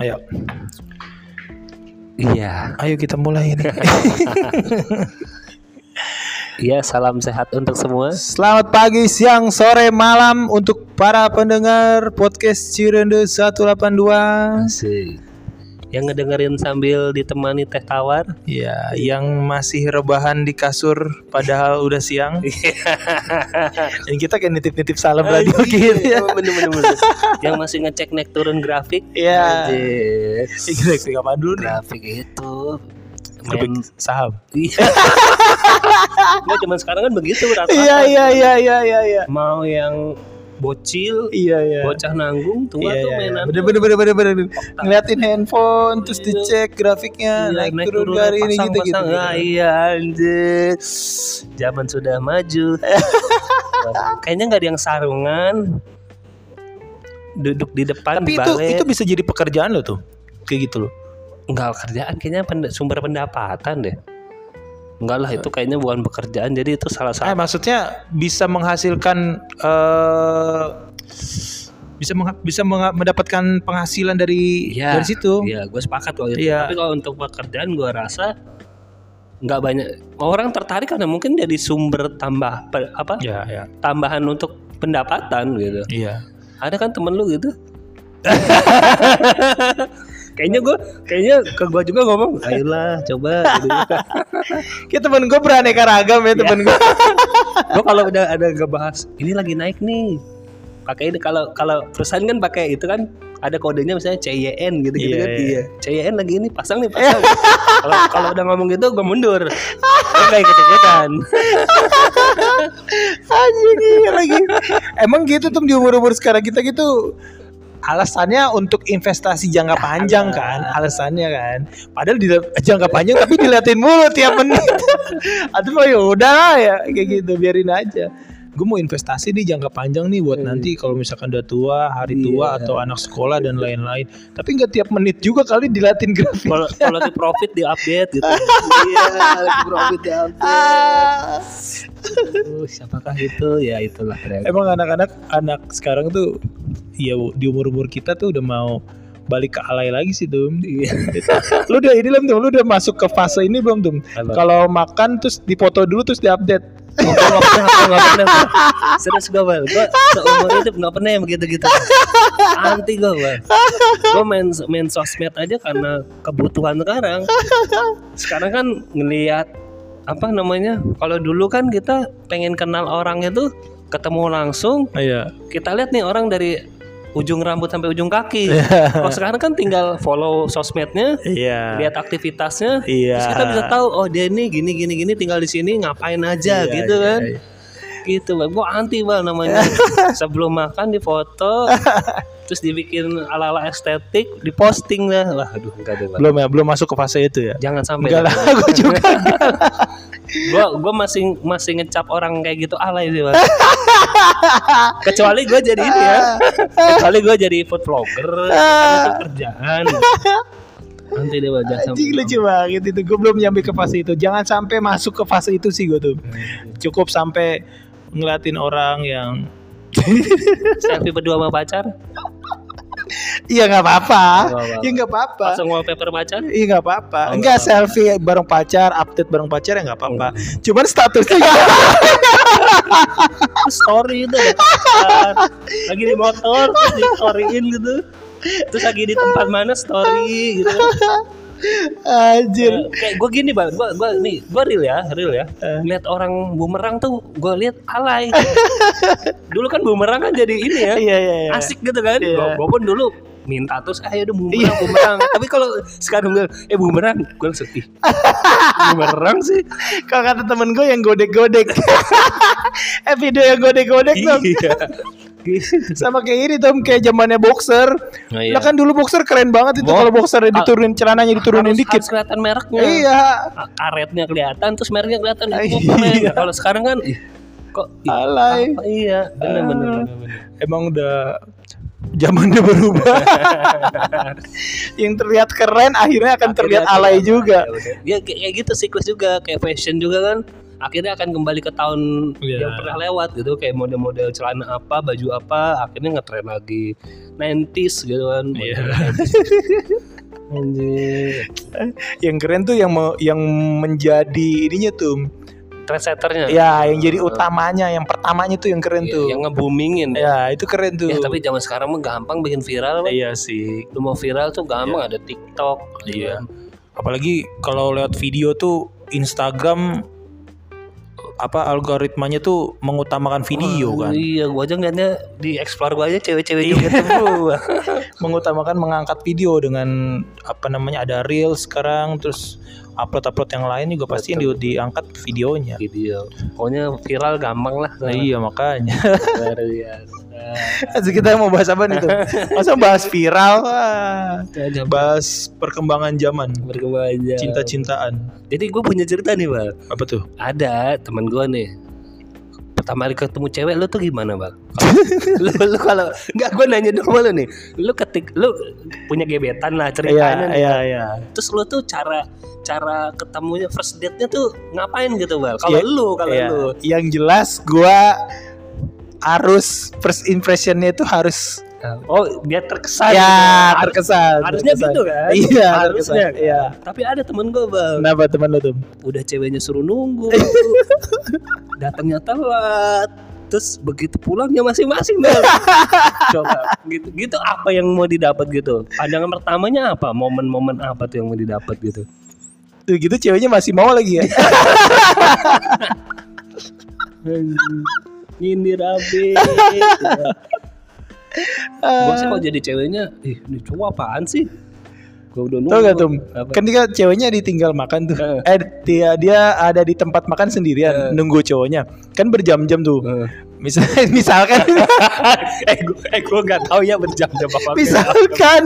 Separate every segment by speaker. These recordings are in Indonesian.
Speaker 1: Ayo,
Speaker 2: Iya,
Speaker 1: ayo kita mulai ini.
Speaker 2: iya salam sehat untuk semua.
Speaker 1: Selamat pagi, siang, sore, malam untuk para pendengar podcast Cirende 182.
Speaker 2: Asik. Yang ngedengerin sambil ditemani teh tawar.
Speaker 1: Ya, yang masih rebahan di kasur padahal udah siang. Dan kita kayak nitip-nitip salam radio
Speaker 2: Anjir,
Speaker 1: gitu ya.
Speaker 2: emang iya, bener, bener, bener. Yang masih ngecek naik turun grafik.
Speaker 1: Iya.
Speaker 2: Anjir.
Speaker 1: Ya, Kita kita kapan dulu nih?
Speaker 2: Grafik itu
Speaker 1: Kebik
Speaker 2: main
Speaker 1: saham.
Speaker 2: Iya. Nggak, cuman sekarang kan begitu rata.
Speaker 1: Iya, iya, iya, iya, iya, iya.
Speaker 2: Mau yang bocil,
Speaker 1: Iya, iya.
Speaker 2: bocah nanggung, tua
Speaker 1: Iya,
Speaker 2: tuh
Speaker 1: iya, iya.
Speaker 2: mainan.
Speaker 1: bener bener bener bener bener ngeliatin handphone terus dicek grafiknya
Speaker 2: Iya,
Speaker 1: naik, turun dari ini
Speaker 2: pasang,
Speaker 1: gitu gitu,
Speaker 2: pasang. Ah, iya anjir zaman sudah maju Waduh, kayaknya nggak ada yang sarungan duduk di depan
Speaker 1: tapi itu itu bisa jadi pekerjaan lo tuh kayak gitu loh
Speaker 2: nggak kerjaan kayaknya penda- sumber pendapatan deh Enggak lah itu kayaknya bukan pekerjaan jadi itu
Speaker 1: eh
Speaker 2: salah satu
Speaker 1: maksudnya bisa menghasilkan eh bisa mengha- bisa mengha- mendapatkan penghasilan dari
Speaker 2: Iya,
Speaker 1: dari situ
Speaker 2: Iya, gue sepakat kalau itu.
Speaker 1: Iya.
Speaker 2: Tapi kalau untuk pekerjaan gue rasa nggak banyak orang tertarik karena mungkin jadi sumber tambah pe- apa
Speaker 1: ya ya
Speaker 2: tambahan untuk pendapatan gitu.
Speaker 1: iya
Speaker 2: ada kan temen lu gitu kayaknya gue kayaknya ke gue juga ngomong ayolah coba gitu.
Speaker 1: kita temen gue beraneka ragam ya temen gue
Speaker 2: gue kalau udah ada ngebahas ini lagi naik nih pakai ini kalau kalau perusahaan kan pakai itu kan ada kodenya misalnya CYN gitu gitu
Speaker 1: Iya,
Speaker 2: kan
Speaker 1: iya.
Speaker 2: iya CYN lagi ini pasang nih pasang kalau kalau udah ngomong gitu gue mundur gue kayak kecil-kecilan
Speaker 1: anjing iya lagi emang gitu tuh di umur umur sekarang kita gitu alasannya untuk investasi jangka panjang kan alasannya kan padahal di jangka panjang tapi diliatin mulu tiap menit aduh oh ya udah ya kayak gitu biarin aja gue mau investasi nih jangka panjang nih buat nanti kalau misalkan udah tua hari tua atau anak sekolah dan lain-lain tapi nggak tiap menit juga kali dilatin grafik
Speaker 2: kalau kalau lagi profit di update gitu iya lagi profit di update siapakah itu ya itulah ternyata
Speaker 1: emang anak-anak anak sekarang tuh ya di umur umur kita tuh udah mau balik ke alay lagi sih tuh lu udah ini belum tuh lu udah masuk ke fase ini belum tuh
Speaker 2: Apa?
Speaker 1: kalau makan terus dipoto dulu terus diupdate
Speaker 2: Gua nggak pernah, gua nggak pernah, gua. Serius gue bal, gue seumur hidup nggak pernah yang begitu gitu. Anti gue bal. Gue main main sosmed aja karena kebutuhan sekarang. Sekarang kan ngelihat apa namanya? Kalau dulu kan kita pengen kenal orang itu ketemu langsung.
Speaker 1: iya
Speaker 2: Kita lihat nih orang dari ujung rambut sampai ujung kaki. Kalau sekarang kan tinggal follow sosmednya,
Speaker 1: iya
Speaker 2: lihat aktivitasnya.
Speaker 1: Iya.
Speaker 2: Terus kita bisa tahu oh dia ini gini gini gini tinggal di sini ngapain
Speaker 1: Iya,
Speaker 2: aja gitu kan. Gitu bang, gua anti bang namanya. Sebelum makan difoto, terus dibikin ala ala estetik, diposting lah. Wah, aduh enggak deh bang.
Speaker 1: belum ya belum masuk ke fase itu ya
Speaker 2: Jangan sampai.
Speaker 1: enggak lah
Speaker 2: Iya.
Speaker 1: gue juga
Speaker 2: Gue gua masih masih ngecap orang kayak gitu alay sih bang. Kecuali gue jadi ini ya. Kecuali gue jadi food vlogger, karena itu kerjaan. Nanti deh bang, jangan sampai.
Speaker 1: anjing lucu banget itu gue belum nyampe ke fase itu jangan sampai masuk ke fase itu sih gue tuh
Speaker 2: Iya,
Speaker 1: cukup sampai ngeliatin orang yang
Speaker 2: Selfie berdua sama pacar,
Speaker 1: iya nggak apa-apa
Speaker 2: Nggak apa-apa.
Speaker 1: iya nggak apa-apa
Speaker 2: langsung wallpaper pacar.
Speaker 1: Iya nggak apa-apa.
Speaker 2: Oh,
Speaker 1: Enggak
Speaker 2: nggak
Speaker 1: selfie bareng pacar, update bareng pacar ya nggak apa-apa. Cuman statusnya nggak
Speaker 2: story itu ada pacar. lagi di motor terus di storyin gitu terus lagi di tempat mana story gitu
Speaker 1: anjir.
Speaker 2: Eh, kayak gue gini bang gue gue nih gue real ya real ya
Speaker 1: Eh.
Speaker 2: lihat orang bumerang tuh gue lihat alay dulu kan bumerang kan jadi ini ya
Speaker 1: Iya iya iya.
Speaker 2: asik gitu kan
Speaker 1: Iya.
Speaker 2: gue pun dulu minta terus ayo udah bumerang bumerang tapi kalau sekarang gue eh bumerang gue langsung ih bumerang sih
Speaker 1: Kalau kata temen gue yang godek-godek. eh video yang godek-godek dong.
Speaker 2: iya Gitu.
Speaker 1: Sama kayak ini Tom kayak zamannya boxer.
Speaker 2: Oh, iya.
Speaker 1: Lah kan dulu boxer keren banget itu
Speaker 2: Bo-
Speaker 1: kalau boxer diturunin celananya diturunin
Speaker 2: harus,
Speaker 1: dikit.
Speaker 2: harus kelihatan mereknya
Speaker 1: Iya.
Speaker 2: karetnya kelihatan terus mereknya kelihatan
Speaker 1: Iya.
Speaker 2: itu keren. Nah, kalau sekarang kan ih, kok ih,
Speaker 1: Alay.
Speaker 2: apa- iya bener bener, bener, bener.
Speaker 1: Emang udah zamannya berubah. yang terlihat keren akhirnya akan terlihat
Speaker 2: Akhirnya
Speaker 1: alay juga.
Speaker 2: ya udah. Ya, kayak kayak gitu siklus juga kayak fashion juga kan akhirnya akan kembali ke tahun
Speaker 1: Iya.
Speaker 2: yang pernah lewat gitu kayak model-model celana apa baju apa akhirnya ngetren lagi 90s gitu kan
Speaker 1: Iya.
Speaker 2: anjir
Speaker 1: Yang keren tuh yang me- yang menjadi ininya tuh.
Speaker 2: trendsetternya
Speaker 1: Ya, yang jadi utamanya, yang pertamanya tuh yang keren
Speaker 2: Iya,
Speaker 1: tuh.
Speaker 2: yang ngebumingin ya.
Speaker 1: Ya, itu keren tuh.
Speaker 2: tapi zaman sekarang mah gampang bikin viral Bang.
Speaker 1: iya sih.
Speaker 2: lu mau viral tuh gampang ada TikTok gitu
Speaker 1: Iya.
Speaker 2: kan.
Speaker 1: Apalagi kalau lewat video tuh Instagram apa algoritmanya tuh mengutamakan video kan.
Speaker 2: Wah,
Speaker 1: Iya.
Speaker 2: Iya, gua aja ngeliatnya di explore gua aja cewek-cewek juga tuh.
Speaker 1: mengutamakan mengangkat video dengan apa namanya ada reel sekarang terus upload-upload yang lain juga pasti yang di- diangkat videonya.
Speaker 2: Video. Pokoknya viral gampang lah.
Speaker 1: Gitu. Nah, iya makanya.
Speaker 2: Luar biasa.
Speaker 1: kita mau bahas apa nih tuh? Masa bahas viral? ah.
Speaker 2: Ada
Speaker 1: Bahas perkembangan zaman,
Speaker 2: berkembang aja.
Speaker 1: cinta-cintaan.
Speaker 2: Jadi gue punya cerita nih, Bang.
Speaker 1: Apa tuh?
Speaker 2: Ada teman gua nih. Pertama kali ketemu cewek lu tuh gimana, Bang? lu, lu kalau enggak gua nanya dulu sama lu nih. Lu ketik lu punya gebetan lah ceritanya.
Speaker 1: Iya,
Speaker 2: nih.
Speaker 1: iya, iya.
Speaker 2: Terus lu tuh cara cara ketemunya first date-nya tuh ngapain gitu, Bang? Kalau
Speaker 1: Iya,
Speaker 2: lu, kalau
Speaker 1: Iya.
Speaker 2: lu.
Speaker 1: Yang jelas gua harus first impressionnya itu harus
Speaker 2: Oh, biar terkesan.
Speaker 1: ya
Speaker 2: gitu.
Speaker 1: terkesan.
Speaker 2: Harusnya
Speaker 1: terkesan.
Speaker 2: gitu kan?
Speaker 1: Iya,
Speaker 2: Harusnya
Speaker 1: harusnya.
Speaker 2: kan?
Speaker 1: Iya.
Speaker 2: Tapi ada temen gue bang,
Speaker 1: Kenapa teman lu tuh?
Speaker 2: udah ceweknya suruh nunggu, datangnya telat, terus begitu pulangnya masing-masing bang. Coba gitu, gitu apa yang mau didapat gitu? Pandangan pertamanya apa? Momen-momen apa tuh yang mau didapat gitu?
Speaker 1: Tuh gitu ceweknya masih mau lagi ya.
Speaker 2: Nyindir rapi. Gue sih kalau jadi ceweknya, ih ini cowok apaan sih? Gue udah nunggu.
Speaker 1: Tau gak Tum?
Speaker 2: Apa?
Speaker 1: Ketika ceweknya ditinggal makan tuh
Speaker 2: Heeh.
Speaker 1: Eh dia, dia ada di tempat makan
Speaker 2: Eh.
Speaker 1: sendirian Nunggu cowoknya Kan berjam-jam tuh
Speaker 2: Heeh.
Speaker 1: Misal, Misalkan
Speaker 2: eh gue eh, gua nggak tahu ya berjam-jam apa
Speaker 1: Misalkan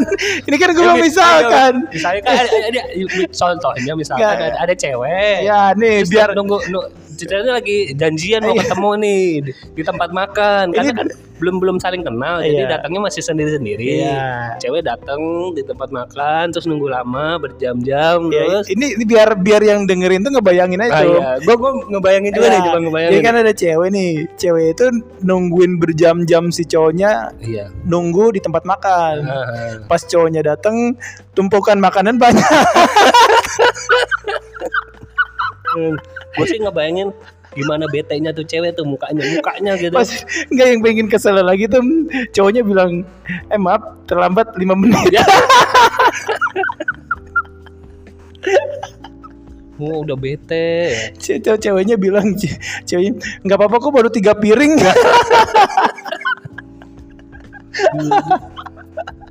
Speaker 1: Ini kan gue bilang misalkan
Speaker 2: misalnya kan ada, ada, ada- contohnya misalkan
Speaker 1: Nggak.
Speaker 2: ada, ada cewek
Speaker 1: Ya nih
Speaker 2: terus
Speaker 1: biar Iya.
Speaker 2: nunggu, nunggu ceritanya lagi janjian mau ketemu nih di, di tempat makan karena
Speaker 1: Ini-
Speaker 2: kan belum belum saling kenal jadi
Speaker 1: Iya.
Speaker 2: datangnya masih sendiri sendiri
Speaker 1: Iya.
Speaker 2: cewek datang di tempat makan terus nunggu lama berjam-jam
Speaker 1: Ya,
Speaker 2: terus
Speaker 1: ini, ini biar biar yang dengerin tuh ngebayangin aja
Speaker 2: Ah,
Speaker 1: Tum.
Speaker 2: iya. Gua gua ngebayangin juga
Speaker 1: Ya,
Speaker 2: deh coba ngebayangin.
Speaker 1: Jadi kan ada cewek nih Cewek itu nungguin berjam-jam si cowoknya
Speaker 2: Iya.
Speaker 1: Nunggu di tempat makan
Speaker 2: Ah.
Speaker 1: Pas cowoknya dateng Tumpukan makanan banyak
Speaker 2: Hmm. Gua sih ngebayangin gimana bete-nya tuh cewek tuh mukanya mukanya gitu.
Speaker 1: Pas nggak yang pengen kesel lagi tuh cowoknya bilang eh maaf terlambat 5 menit
Speaker 2: Ya. Oh, udah bete.
Speaker 1: Ce- ce- ceweknya bilang ce- ceweknya nggak apa-apa kok baru tiga piring
Speaker 2: Ya,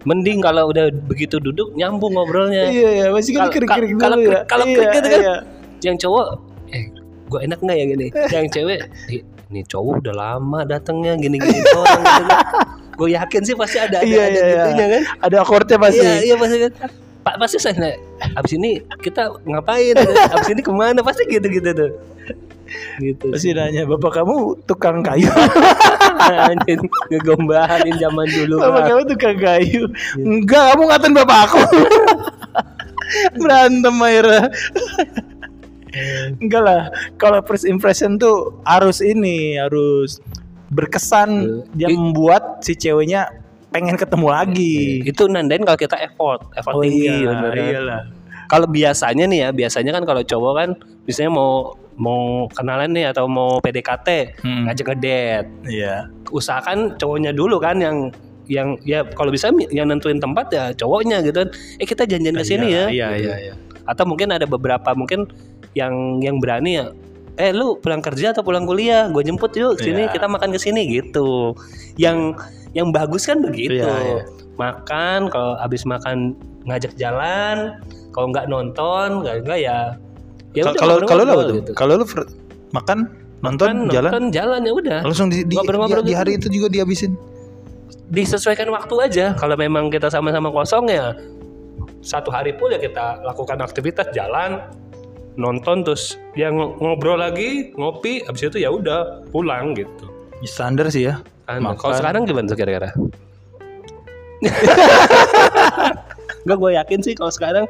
Speaker 2: Mending kalau udah begitu duduk nyambung ngobrolnya.
Speaker 1: iya iya masih kan
Speaker 2: ya. Kalau-
Speaker 1: kering-kering
Speaker 2: kalau-
Speaker 1: dulu ya
Speaker 2: kalau
Speaker 1: Iya,
Speaker 2: krik gitu kan.
Speaker 1: iya.
Speaker 2: Yang cowok, eh gue enak nggak ya gini? Yang cewek, "Ih, ini cowok udah lama datangnya gini-gini doang. gue yakin sih pasti ada ada,
Speaker 1: Iya, iya,
Speaker 2: ada
Speaker 1: iya.
Speaker 2: gitunya kan?
Speaker 1: ada akordnya pasti
Speaker 2: Iya iya pasti kan. Pak pasti saya nanya, abis ini kita ngapain? Abis ini kemana? Pasti gitu-gitu tuh. Gitu.
Speaker 1: pasti nanya bapak kamu tukang kayu
Speaker 2: Anjing ngegombalin zaman dulu.
Speaker 1: bapak
Speaker 2: Bang.
Speaker 1: kamu tukang
Speaker 2: Iya.
Speaker 1: kayu enggak kamu ngatain bapak aku berantem Mayra
Speaker 2: Iya.
Speaker 1: enggak lah kalau first impression tuh harus ini harus berkesan dia
Speaker 2: Ih.
Speaker 1: membuat si ceweknya pengen ketemu lagi Oh,
Speaker 2: Itu nandain kalau kita effort, effort tinggi.
Speaker 1: iya,
Speaker 2: bener kan?
Speaker 1: iyalah
Speaker 2: Kalau biasanya nih ya, biasanya kan kalau cowok kan biasanya mau mau kenalan nih atau mau PDKT,
Speaker 1: Hmm.
Speaker 2: ngajak ngedet.
Speaker 1: iya
Speaker 2: Usahakan cowoknya dulu kan yang yang ya kalau bisa mi- yang nentuin tempat ya cowoknya gitu kan. Eh kita janjian ke sini ya.
Speaker 1: iya
Speaker 2: Gitu.
Speaker 1: iya iya
Speaker 2: Atau mungkin ada beberapa mungkin yang yang berani ya. Eh lu pulang kerja atau pulang kuliah? Gue jemput yuk sini
Speaker 1: Iya.
Speaker 2: kita makan ke sini gitu. Yang yang bagus kan begitu.
Speaker 1: Iya, iya.
Speaker 2: Makan kalau habis makan ngajak jalan, kalau nggak nonton, nggak nggak ya. Ya udah,
Speaker 1: kalau kalau lu apa
Speaker 2: ngobrol-ngobrol gitu.
Speaker 1: tuh kalau lu fr- makan
Speaker 2: Kan
Speaker 1: nonton
Speaker 2: nonton
Speaker 1: jalan
Speaker 2: jalan, ya udah.
Speaker 1: langsung di di,
Speaker 2: Ngobrol-ngobrol
Speaker 1: di- di
Speaker 2: gitu.
Speaker 1: hari itu juga dihabisin
Speaker 2: Disesuaikan waktu aja. Kalau memang kita sama-sama kosong ya satu hari pun ya kita lakukan aktivitas jalan nonton terus ya ng- ngobrol lagi ngopi habis itu ya udah pulang gitu
Speaker 1: standar sih ya
Speaker 2: Kan,
Speaker 1: Makan.
Speaker 2: Kalau sekarang gimana tuh kira-kira? Enggak gue yakin sih kalau sekarang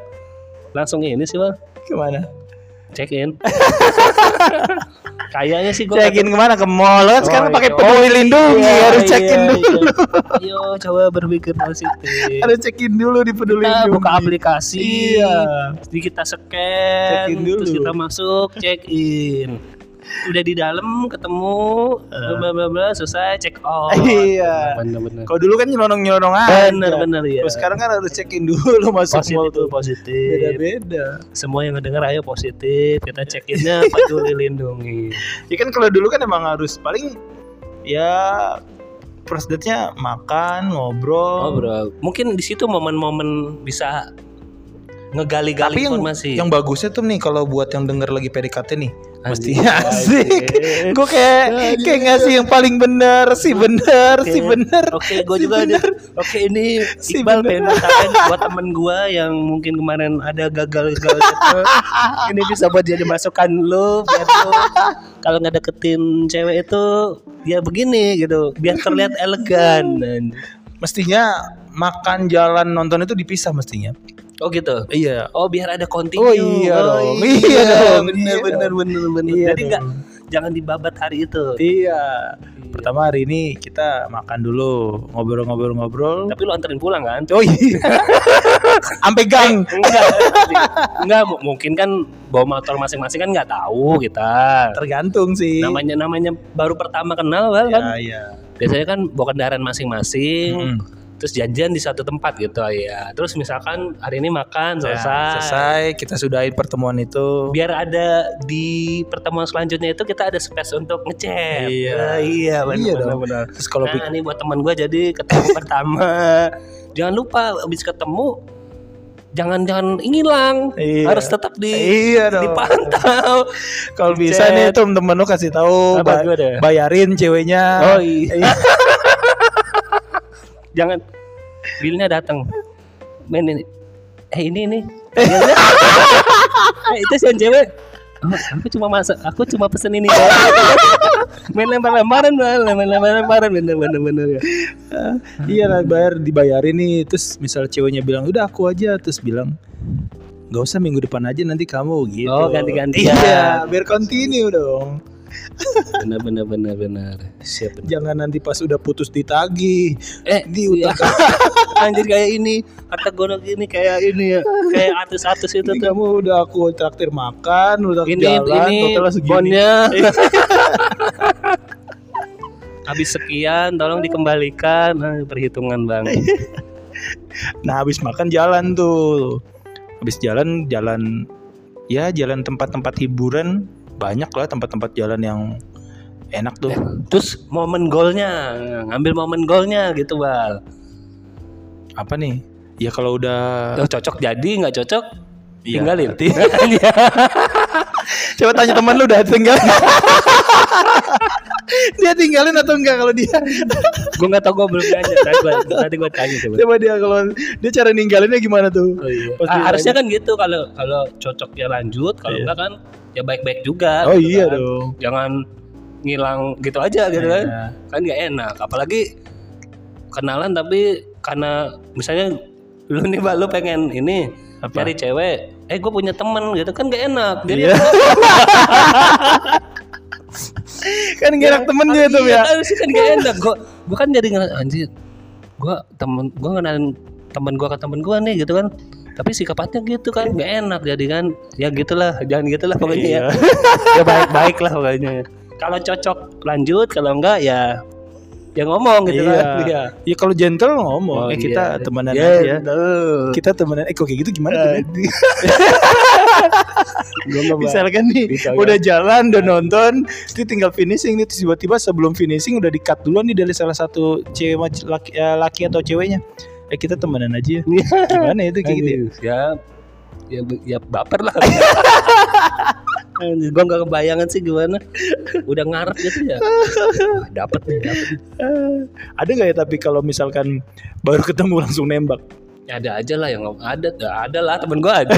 Speaker 2: langsung ini sih bang
Speaker 1: gimana
Speaker 2: check in. Kayaknya sih gue
Speaker 1: Cekin kemana ke mall kan sekarang
Speaker 2: Oh,
Speaker 1: pakai
Speaker 2: iya.
Speaker 1: peduli lindungi harus cekin dulu.
Speaker 2: Yo coba berpikir positif.
Speaker 1: Harus cekin dulu di peduli lindungi.
Speaker 2: Kita Nah, buka aplikasi,
Speaker 1: Iya.
Speaker 2: jadi kita scan,
Speaker 1: Check-in dulu.
Speaker 2: terus kita masuk, check in. Udah di dalam ketemu, bla bla bla, selesai check out.
Speaker 1: Iya.
Speaker 2: Bener-bener.
Speaker 1: Kalau dulu kan nyelonong-nyelonong aja.
Speaker 2: Bener-bener ya.
Speaker 1: Kalau sekarang kan harus cekin dulu masuk mall
Speaker 2: positif
Speaker 1: tuh.
Speaker 2: positif.
Speaker 1: Beda-beda.
Speaker 2: Semua yang ngedenger ayo positif. Kita check innya peduli lindungi.
Speaker 1: Ya kan kalau dulu kan emang harus paling ya first date-nya makan,
Speaker 2: Oh
Speaker 1: ngobrol.
Speaker 2: bro, mungkin di situ momen-momen bisa ngegali-gali
Speaker 1: Tapi yang
Speaker 2: informasi.
Speaker 1: yang bagusnya tuh nih kalau buat yang denger lagi PDKT nih, mesti
Speaker 2: Anjing.
Speaker 1: asik.
Speaker 2: Anjing. Iya.
Speaker 1: Gue kayak kayak ngasih yang paling bener sih bener sih bener.
Speaker 2: Oke, gue juga ada. Oke, ini
Speaker 1: Si
Speaker 2: Iqbal
Speaker 1: bener.
Speaker 2: pengen ngatakan buat temen gue yang mungkin kemarin ada gagal-gagal gitu. ini bisa buat jadi masukan lu biar lu kalau nggak deketin cewek itu ya begini gitu, biar terlihat elegan.
Speaker 1: Mestinya makan jalan nonton itu dipisah mestinya.
Speaker 2: Oh gitu.
Speaker 1: Iya.
Speaker 2: Oh biar ada continue.
Speaker 1: Oh iya dong.
Speaker 2: iya,
Speaker 1: Iya dong.
Speaker 2: Bener
Speaker 1: Iya
Speaker 2: bener bener bener.
Speaker 1: Iya
Speaker 2: Jadi
Speaker 1: dong.
Speaker 2: nggak jangan dibabat hari itu.
Speaker 1: Iya. Pertama hari ini kita makan dulu ngobrol-ngobrol-ngobrol.
Speaker 2: Tapi lu anterin pulang kan?
Speaker 1: Oh iya. Sampai gang.
Speaker 2: Enggak, enggak mu- mungkin kan bawa motor masing-masing kan nggak tahu kita.
Speaker 1: Tergantung sih.
Speaker 2: Namanya namanya baru pertama kenal Bal, kan. Hmm.
Speaker 1: Ya, iya.
Speaker 2: Biasanya kan bawa kendaraan masing-masing.
Speaker 1: Mm.
Speaker 2: Terus janjian di satu tempat gitu ya. Terus misalkan hari ini makan
Speaker 1: Ya,
Speaker 2: selesai.
Speaker 1: selesai. Kita sudahin pertemuan itu.
Speaker 2: Biar ada di pertemuan selanjutnya itu kita ada space untuk ngechat.
Speaker 1: Iya.
Speaker 2: Ah, iya, benar,
Speaker 1: Iya
Speaker 2: benar,
Speaker 1: dong.
Speaker 2: benar.
Speaker 1: Terus kalau
Speaker 2: Nah, ini buat teman gue jadi ketemu pertama. Jangan lupa habis ketemu jangan jangan ngilang.
Speaker 1: Iya.
Speaker 2: Harus tetap di
Speaker 1: Iya dong.
Speaker 2: dipantau.
Speaker 1: Kalau bisa
Speaker 2: Chat.
Speaker 1: nih tuh temen lu kasih tahu ba-
Speaker 2: Apa gua deh?
Speaker 1: bayarin ceweknya.
Speaker 2: Oh iya. jangan bilnya datang. Men ini. Eh ini ini. eh, itu si yang cewek. Oh, aku cuma masak, aku cuma pesen ini. main lempar-lemparan, Bal. main lempar-lemparan, bener-bener ya.
Speaker 1: Iya lah bayar dibayarin nih. Terus misal ceweknya bilang udah aku aja terus bilang nggak usah minggu depan aja nanti kamu gitu.
Speaker 2: Oh, ganti-gantian.
Speaker 1: Iya, biar continue dong.
Speaker 2: Bener, bener, bener, bener. Siap, bener.
Speaker 1: Jangan nanti pas udah putus ditagih.
Speaker 2: Eh,
Speaker 1: Di utang
Speaker 2: anjir kayak ini kata gorok ini kayak ini ya kayak atus-atus itu
Speaker 1: Ini
Speaker 2: tuh
Speaker 1: kamu udah aku traktir makan, udah
Speaker 2: ini
Speaker 1: jalan,
Speaker 2: ini
Speaker 1: totalnya segini.
Speaker 2: bonnya habis sekian tolong dikembalikan nah, perhitungan bang
Speaker 1: Nah, habis makan jalan tuh. Habis jalan jalan ya jalan tempat-tempat hiburan banyak lah tempat-tempat jalan yang enak tuh.
Speaker 2: terus momen golnya ngambil momen golnya gitu bal
Speaker 1: Apa nih? Ya kalau udah
Speaker 2: Tuh, cocok jadi nggak cocok
Speaker 1: Iya,
Speaker 2: tinggalin
Speaker 1: berarti. Coba tanya teman lu udah tinggal. dia tinggalin atau enggak kalau dia?
Speaker 2: gue nggak tau gue belum nanya nanti gue nanti gua tanya coba
Speaker 1: Coba dia kalau dia cara ninggalinnya gimana tuh?
Speaker 2: Oh, iya.
Speaker 1: Pas
Speaker 2: Ah,
Speaker 1: dia
Speaker 2: harusnya kan gitu kalau kalau cocoknya lanjut kalau
Speaker 1: Iya.
Speaker 2: enggak kan ya baik-baik juga
Speaker 1: Oh
Speaker 2: gitu
Speaker 1: iya
Speaker 2: kan.
Speaker 1: dong.
Speaker 2: jangan ngilang gitu aja gitu kan
Speaker 1: Iya.
Speaker 2: kan nggak enak apalagi kenalan tapi karena misalnya lu nih mbak lu pengen ini
Speaker 1: Apa?
Speaker 2: cari cewek eh gue punya temen gitu kan nggak enak jadi
Speaker 1: Iya. Kan ngerak temen dia tuh ya.
Speaker 2: harus kan nggak enak gue gue kan jadi ngerasa anjir gue temen gue kenalin temen gue ke temen gue nih gitu kan tapi sikapnya gitu kan nggak enak jadi kan ya gitulah jangan gitulah pokoknya
Speaker 1: Iya.
Speaker 2: ya ya baik baik lah pokoknya kalau cocok lanjut kalau enggak ya ya ngomong gitu
Speaker 1: Iya.
Speaker 2: kan iya
Speaker 1: Ya kalau gentle ngomong,
Speaker 2: Oh,
Speaker 1: eh kita
Speaker 2: iya.
Speaker 1: temenan
Speaker 2: Ya,
Speaker 1: aja. Kita temenan. Eh kok kayak gitu gimana? tuh? Misalkan nih
Speaker 2: Bisa,
Speaker 1: udah jalan,
Speaker 2: Nah.
Speaker 1: udah nonton, itu tinggal finishing nih terus tiba-tiba sebelum finishing udah di-cut duluan nih dari salah satu cewek mac- laki, eh, laki atau ceweknya. Eh kita temenan aja. ya.
Speaker 2: Iya.
Speaker 1: Gimana itu kayak gitu? ya?
Speaker 2: Aduh, ya ya ya baper lah gue gak kebayangan sih gimana udah ngarep gitu ya Wah, dapet nih dapet nih.
Speaker 1: Eh, ada nggak ya tapi kalau misalkan baru ketemu langsung nembak?
Speaker 2: Ya, ada aja lah yang ada ya ada lah temen gue ada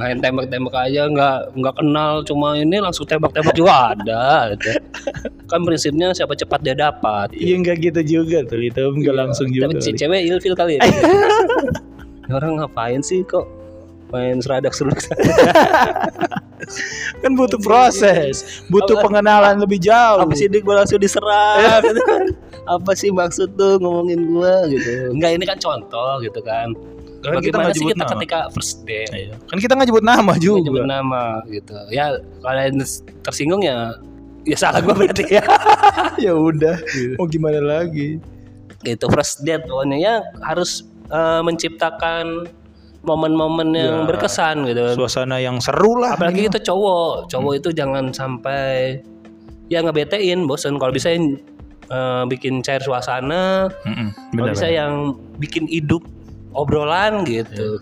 Speaker 2: main tembak-tembak aja nggak nggak kenal cuma ini langsung tembak-tembak juga ada, ada kan prinsipnya siapa cepat dia dapat
Speaker 1: Iya nggak gitu juga tuh itu nggak langsung juga.
Speaker 2: Tapi
Speaker 1: kali.
Speaker 2: ce- Iya, cewek ilfil gitu kali ya. Ini Orang ngapain sih kok main seradak seruduk
Speaker 1: kan butuh proses butuh
Speaker 2: Apa-
Speaker 1: pengenalan lebih jauh Kan
Speaker 2: apa sih dik gue langsung diserang gitu kan. apa sih maksud tuh ngomongin gua gitu enggak ini kan contoh gitu kan
Speaker 1: Kan kita
Speaker 2: bagaimana
Speaker 1: nggak
Speaker 2: sih
Speaker 1: nyebut
Speaker 2: kita
Speaker 1: nama.
Speaker 2: ketika first day
Speaker 1: Iya. kan kita nggak nyebut nama
Speaker 2: nyebut
Speaker 1: juga
Speaker 2: nama gitu ya kalian tersinggung ya ya salah gua berarti ya
Speaker 1: ya udah
Speaker 2: Iya.
Speaker 1: mau gimana lagi
Speaker 2: gitu first date pokoknya ya harus eh, menciptakan momen-momen yang
Speaker 1: Ya,
Speaker 2: berkesan gitu
Speaker 1: suasana yang seru lah
Speaker 2: apalagi kita cowok cowok itu jangan sampai ya ngebetein bosen kalau bisa yang, eh, bikin cair suasana
Speaker 1: Mm-mm, benar,
Speaker 2: kalau bisa
Speaker 1: benar.
Speaker 2: ya. yang bikin hidup obrolan gitu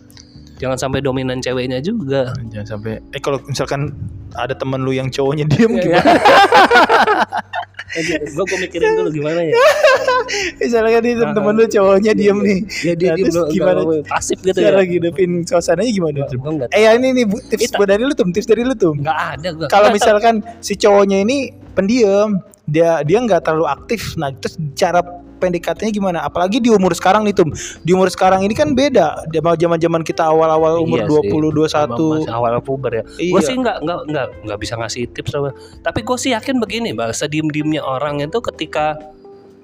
Speaker 2: jangan sampai dominan ceweknya juga
Speaker 1: jangan sampai eh kalau misalkan ada temen lu yang cowoknya diem
Speaker 2: Ya.
Speaker 1: gimana
Speaker 2: gue mikirin dulu gimana ya
Speaker 1: misalkan nih
Speaker 2: Nah,
Speaker 1: temen lu cowoknya diem nih
Speaker 2: ya dia, dia
Speaker 1: Terus
Speaker 2: belum-
Speaker 1: gimana
Speaker 2: belum- pasif gitu ya
Speaker 1: cara ngidupin suasananya gimana tuh
Speaker 2: gue nggak
Speaker 1: eh ya ini nih Bu, tips
Speaker 2: Kita-
Speaker 1: buat dari lu tuh tips dari lu tuh
Speaker 2: nggak ada gue
Speaker 1: kalau misalkan si cowoknya ini pendiam dia dia nggak terlalu aktif nah terus cara pendekatannya gimana apalagi di umur sekarang nih Tum di umur sekarang ini kan beda zaman zaman kita awal awal umur
Speaker 2: Iya
Speaker 1: 20 21
Speaker 2: awal puber ya
Speaker 1: Iya.
Speaker 2: gue sih nggak nggak nggak nggak bisa ngasih tips apa tapi gue sih yakin begini bahasa diem diemnya orang itu ketika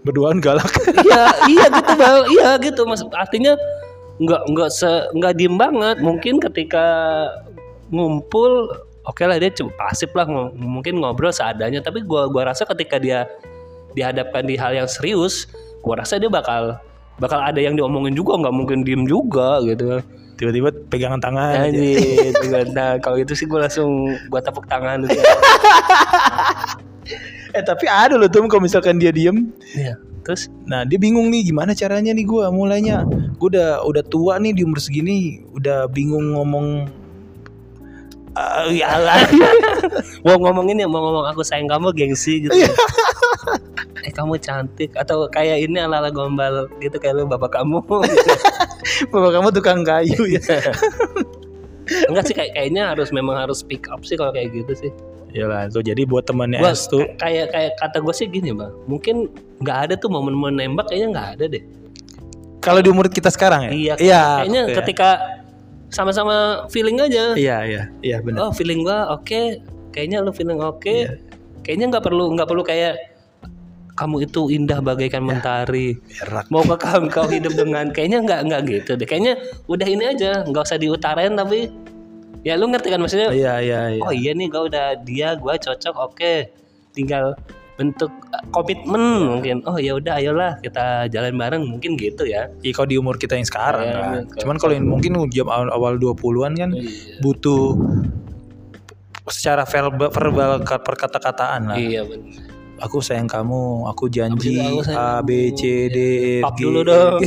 Speaker 1: berduaan galak
Speaker 2: iya iya gitu bal iya gitu maksud artinya nggak nggak se nggak diem banget mungkin ketika ngumpul oke lah dia cuma pasif lah ng- mungkin ngobrol seadanya tapi gua gua rasa ketika dia dihadapkan di hal yang serius gua rasa dia bakal bakal ada yang diomongin juga nggak mungkin diem juga gitu
Speaker 1: tiba-tiba pegangan
Speaker 2: Ya.
Speaker 1: tangan aja.
Speaker 2: Anjir, nah, kalau itu sih gua langsung gua tepuk tangan gitu.
Speaker 1: eh tapi ada loh Tum kalau misalkan dia diem
Speaker 2: Iya. Terus
Speaker 1: Nah dia bingung nih gimana caranya nih gua mulainya Gue udah udah tua nih di umur segini Udah bingung ngomong Ah, ya lah.
Speaker 2: Eh, mau ngomongin ya mau ngomong aku sayang kamu gengsi
Speaker 1: Iya.
Speaker 2: gitu eh kamu cantik atau kayak ini ala ala gombal gitu kayak lu bapak kamu gitu.
Speaker 1: Bapak kamu tukang kayu ya
Speaker 2: enggak sih kayak kayaknya harus memang harus pick up sih kalau kayak gitu sih
Speaker 1: Yalah tuh jadi buat temannya
Speaker 2: Gua-
Speaker 1: S tuh
Speaker 2: kayak kayak kata gue sih gini bang mungkin nggak ada tuh momen-momen nembak kayaknya nggak ada deh
Speaker 1: Kalau di umur kita sekarang ya
Speaker 2: iya
Speaker 1: Iya
Speaker 2: kayaknya
Speaker 1: iya.
Speaker 2: ketika sama-sama feeling aja
Speaker 1: Iya iya Iya benar
Speaker 2: oh feeling gua oke kayaknya lu feeling oke kayaknya nggak perlu nggak perlu kayak kamu itu indah bagaikan mentari
Speaker 1: Berak.
Speaker 2: mau ke kau kau hidup dengan kayaknya nggak nggak gitu deh kayaknya udah ini aja nggak usah diutarain tapi ya lu ngerti kan maksudnya
Speaker 1: Iya iya iya
Speaker 2: oh iya nih gua udah dia gua cocok oke tinggal bentuk eh, komitmen mungkin oh ya udah ayolah kita jalan bareng mungkin gitu ya
Speaker 1: Iya kalau di umur kita yang sekarang
Speaker 2: Iya,
Speaker 1: kan.
Speaker 2: iya.
Speaker 1: Cuman kalau yang mungkin jam awal, awal 20-an kan butuh secara verbal, verbal perkata-kataan lah.
Speaker 2: iya bener
Speaker 1: aku sayang kamu, aku janji
Speaker 2: Aku sayang
Speaker 1: A
Speaker 2: kamu.
Speaker 1: B C D E F
Speaker 2: Pap
Speaker 1: G.
Speaker 2: dulu dong.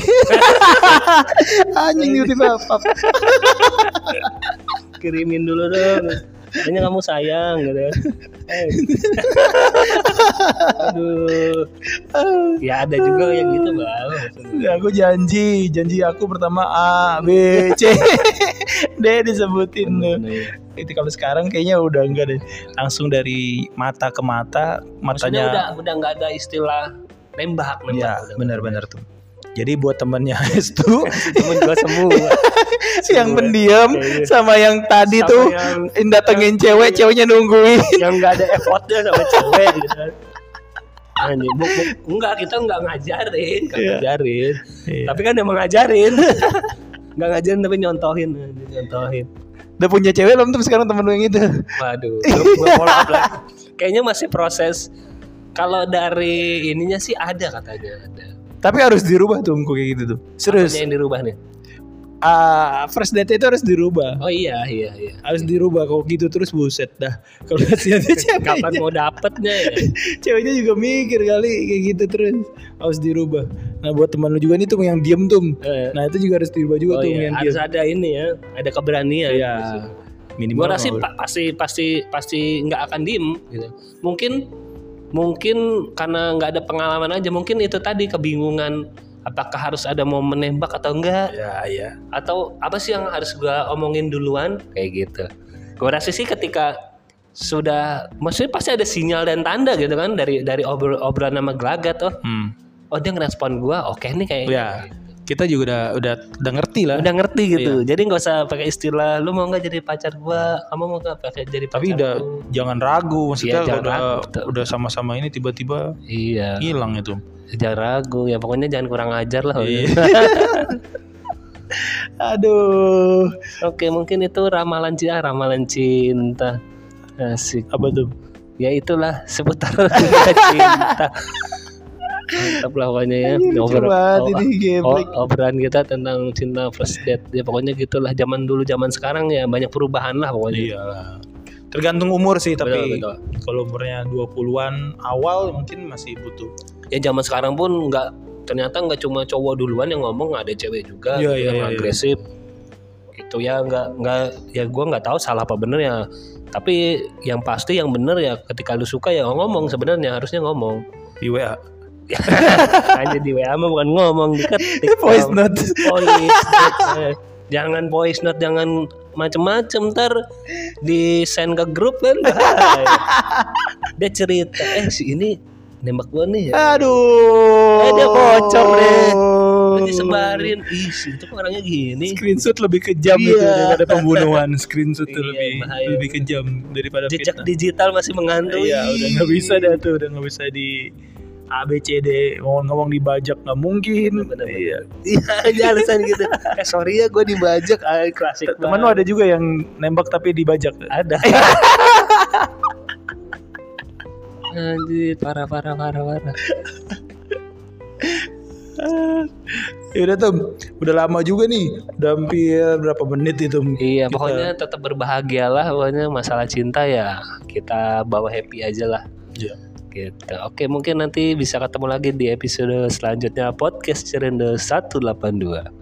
Speaker 1: Anjing tiba-tiba pap.
Speaker 2: kirimin dulu dong kayaknya kamu sayang gitu kan Eh. aduh ya ada juga yang gitu bang
Speaker 1: Ya, aku janji, janji aku pertama A B C D disebutin tuh. Itu kalau sekarang kayaknya udah enggak deh. Langsung dari mata ke mata,
Speaker 2: Maksudnya Iya.
Speaker 1: matanya
Speaker 2: udah udah nggak ada istilah nembak nembak
Speaker 1: ya benar-benar tuh. Jadi buat temennya itu
Speaker 2: temen gua semua
Speaker 1: yang pendiam
Speaker 2: Iya, iya.
Speaker 1: sama yang tadi
Speaker 2: Sama
Speaker 1: tuh
Speaker 2: yang-
Speaker 1: datengin cewek, ceweknya nungguin.
Speaker 2: yang nggak ada effortnya sama cewek gitu kan Anjir, bu, bu, enggak kita nggak ngajarin, nggak
Speaker 1: Iya.
Speaker 2: ngajarin.
Speaker 1: Iya.
Speaker 2: Tapi kan emang ngajarin. nggak ngajarin tapi nyontohin, anjir, nyontohin.
Speaker 1: Udah punya cewek belum tuh sekarang temen lu yang itu?
Speaker 2: Waduh, gua- gua follow up lagi. Kayaknya masih proses. Kalau dari ininya sih ada katanya ada.
Speaker 1: Tapi harus dirubah tuh Mku, kayak gitu tuh. Serius.
Speaker 2: Apanya yang dirubah nih?
Speaker 1: Ah, first date itu harus dirubah.
Speaker 2: Oh iya iya iya.
Speaker 1: Harus dirubah kalau gitu terus buset dah. Kalau kasihannya
Speaker 2: Kapan
Speaker 1: ceweknya,
Speaker 2: mau dapetnya ya?
Speaker 1: ceweknya juga mikir kali kayak gitu terus harus dirubah. Nah, buat teman lu juga nih tuh yang diem tuh.
Speaker 2: Eh,
Speaker 1: Nah, itu juga harus dirubah juga
Speaker 2: oh
Speaker 1: tuh
Speaker 2: iya,
Speaker 1: yang
Speaker 2: harus
Speaker 1: diem.
Speaker 2: ada ini ya, ada keberanian. gitu.
Speaker 1: Iya. Minimal.
Speaker 2: Gua rasa
Speaker 1: nggak boleh.
Speaker 2: pa- pasti pasti pasti nggak akan diem gitu. Mungkin mungkin karena nggak ada pengalaman aja mungkin itu tadi kebingungan apakah harus ada momen nembak atau enggak
Speaker 1: Ya, ya.
Speaker 2: atau apa sih yang harus gua omongin duluan kayak gitu gue rasa sih ketika sudah maksudnya pasti ada sinyal dan tanda gitu kan dari dari obrol obrolan sama gelagat oh
Speaker 1: Hmm.
Speaker 2: oh dia ngerespon gua oke nih kayak
Speaker 1: Ya. kita juga udah udah udah ngerti lah.
Speaker 2: udah ngerti gitu
Speaker 1: Iya.
Speaker 2: jadi nggak usah pakai istilah lu mau nggak jadi pacar gua kamu mau nggak pakai jadi pacar
Speaker 1: Tapi udah
Speaker 2: aku?"
Speaker 1: jangan ragu maksudnya
Speaker 2: Iya, jangan
Speaker 1: udah
Speaker 2: ragu, betul.
Speaker 1: udah sama-sama ini tiba-tiba
Speaker 2: iya
Speaker 1: hilang ya, itu.
Speaker 2: jangan ragu ya pokoknya jangan kurang ajar lah
Speaker 1: Iya. Aduh.
Speaker 2: oke mungkin itu ramalan cinta ramalan cinta asik
Speaker 1: Apa tuh?
Speaker 2: ya itulah seputar dunia cinta mantap lah pokoknya ya
Speaker 1: Lucu
Speaker 2: Obrol-
Speaker 1: banget
Speaker 2: o-
Speaker 1: ini
Speaker 2: o-
Speaker 1: geblek.
Speaker 2: obrolan kita tentang cinta first date ya pokoknya gitulah zaman dulu zaman sekarang ya banyak perubahan lah pokoknya
Speaker 1: Iya. Tergantung umur sih
Speaker 2: Betul,
Speaker 1: tapi
Speaker 2: betul.
Speaker 1: kalau umurnya 20-an awal mungkin masih butuh.
Speaker 2: ya zaman sekarang pun nggak ternyata nggak cuma cowok duluan yang ngomong ada cewek juga
Speaker 1: Iya,
Speaker 2: gitu,
Speaker 1: iya,
Speaker 2: yang
Speaker 1: iya, iya.
Speaker 2: agresif gitu ya nggak nggak ya gua nggak tahu salah apa bener ya tapi yang pasti yang bener ya ketika lu suka ya ngomong sebenarnya harusnya ngomong Kan
Speaker 1: Di WA.
Speaker 2: hanya di WA mah bukan ngomong diketik
Speaker 1: Voice
Speaker 2: dong.
Speaker 1: note.
Speaker 2: voice note, eh. jangan voice note jangan macem-macem ntar di send ke grup kan dia cerita eh si ini nembak gua nih ya
Speaker 1: Aduh.
Speaker 2: Eh, dia bocor deh. Terus disebarin ih si itu kok orangnya gini
Speaker 1: Screenshot lebih kejam itu
Speaker 2: Iya.
Speaker 1: daripada pembunuhan. Screenshot tuh
Speaker 2: Iya,
Speaker 1: lebih
Speaker 2: bahaya.
Speaker 1: lebih kejam daripada
Speaker 2: jejak
Speaker 1: fitnah.
Speaker 2: digital masih menghantui
Speaker 1: nah. Iya, udah nggak bisa dah tuh, udah nggak bisa di A B C D mau ngomong dibajak nggak mungkin.
Speaker 2: Bener-bener.
Speaker 1: Iya.
Speaker 2: iya aja alasan gitu eh sorry ya gue dibajak ah, klasik
Speaker 1: Temen lu ada juga yang nembak tapi dibajak.
Speaker 2: ada anjir parah parah parah parah
Speaker 1: Ya udah tuh, udah lama juga nih, udah hampir berapa menit itu.
Speaker 2: Iya,
Speaker 1: Kita-
Speaker 2: pokoknya tetap berbahagialah. Pokoknya masalah cinta ya kita bawa happy aja lah.
Speaker 1: Iya.
Speaker 2: Gitu. Oke, mungkin nanti bisa ketemu lagi di episode selanjutnya podcast Cirende 182.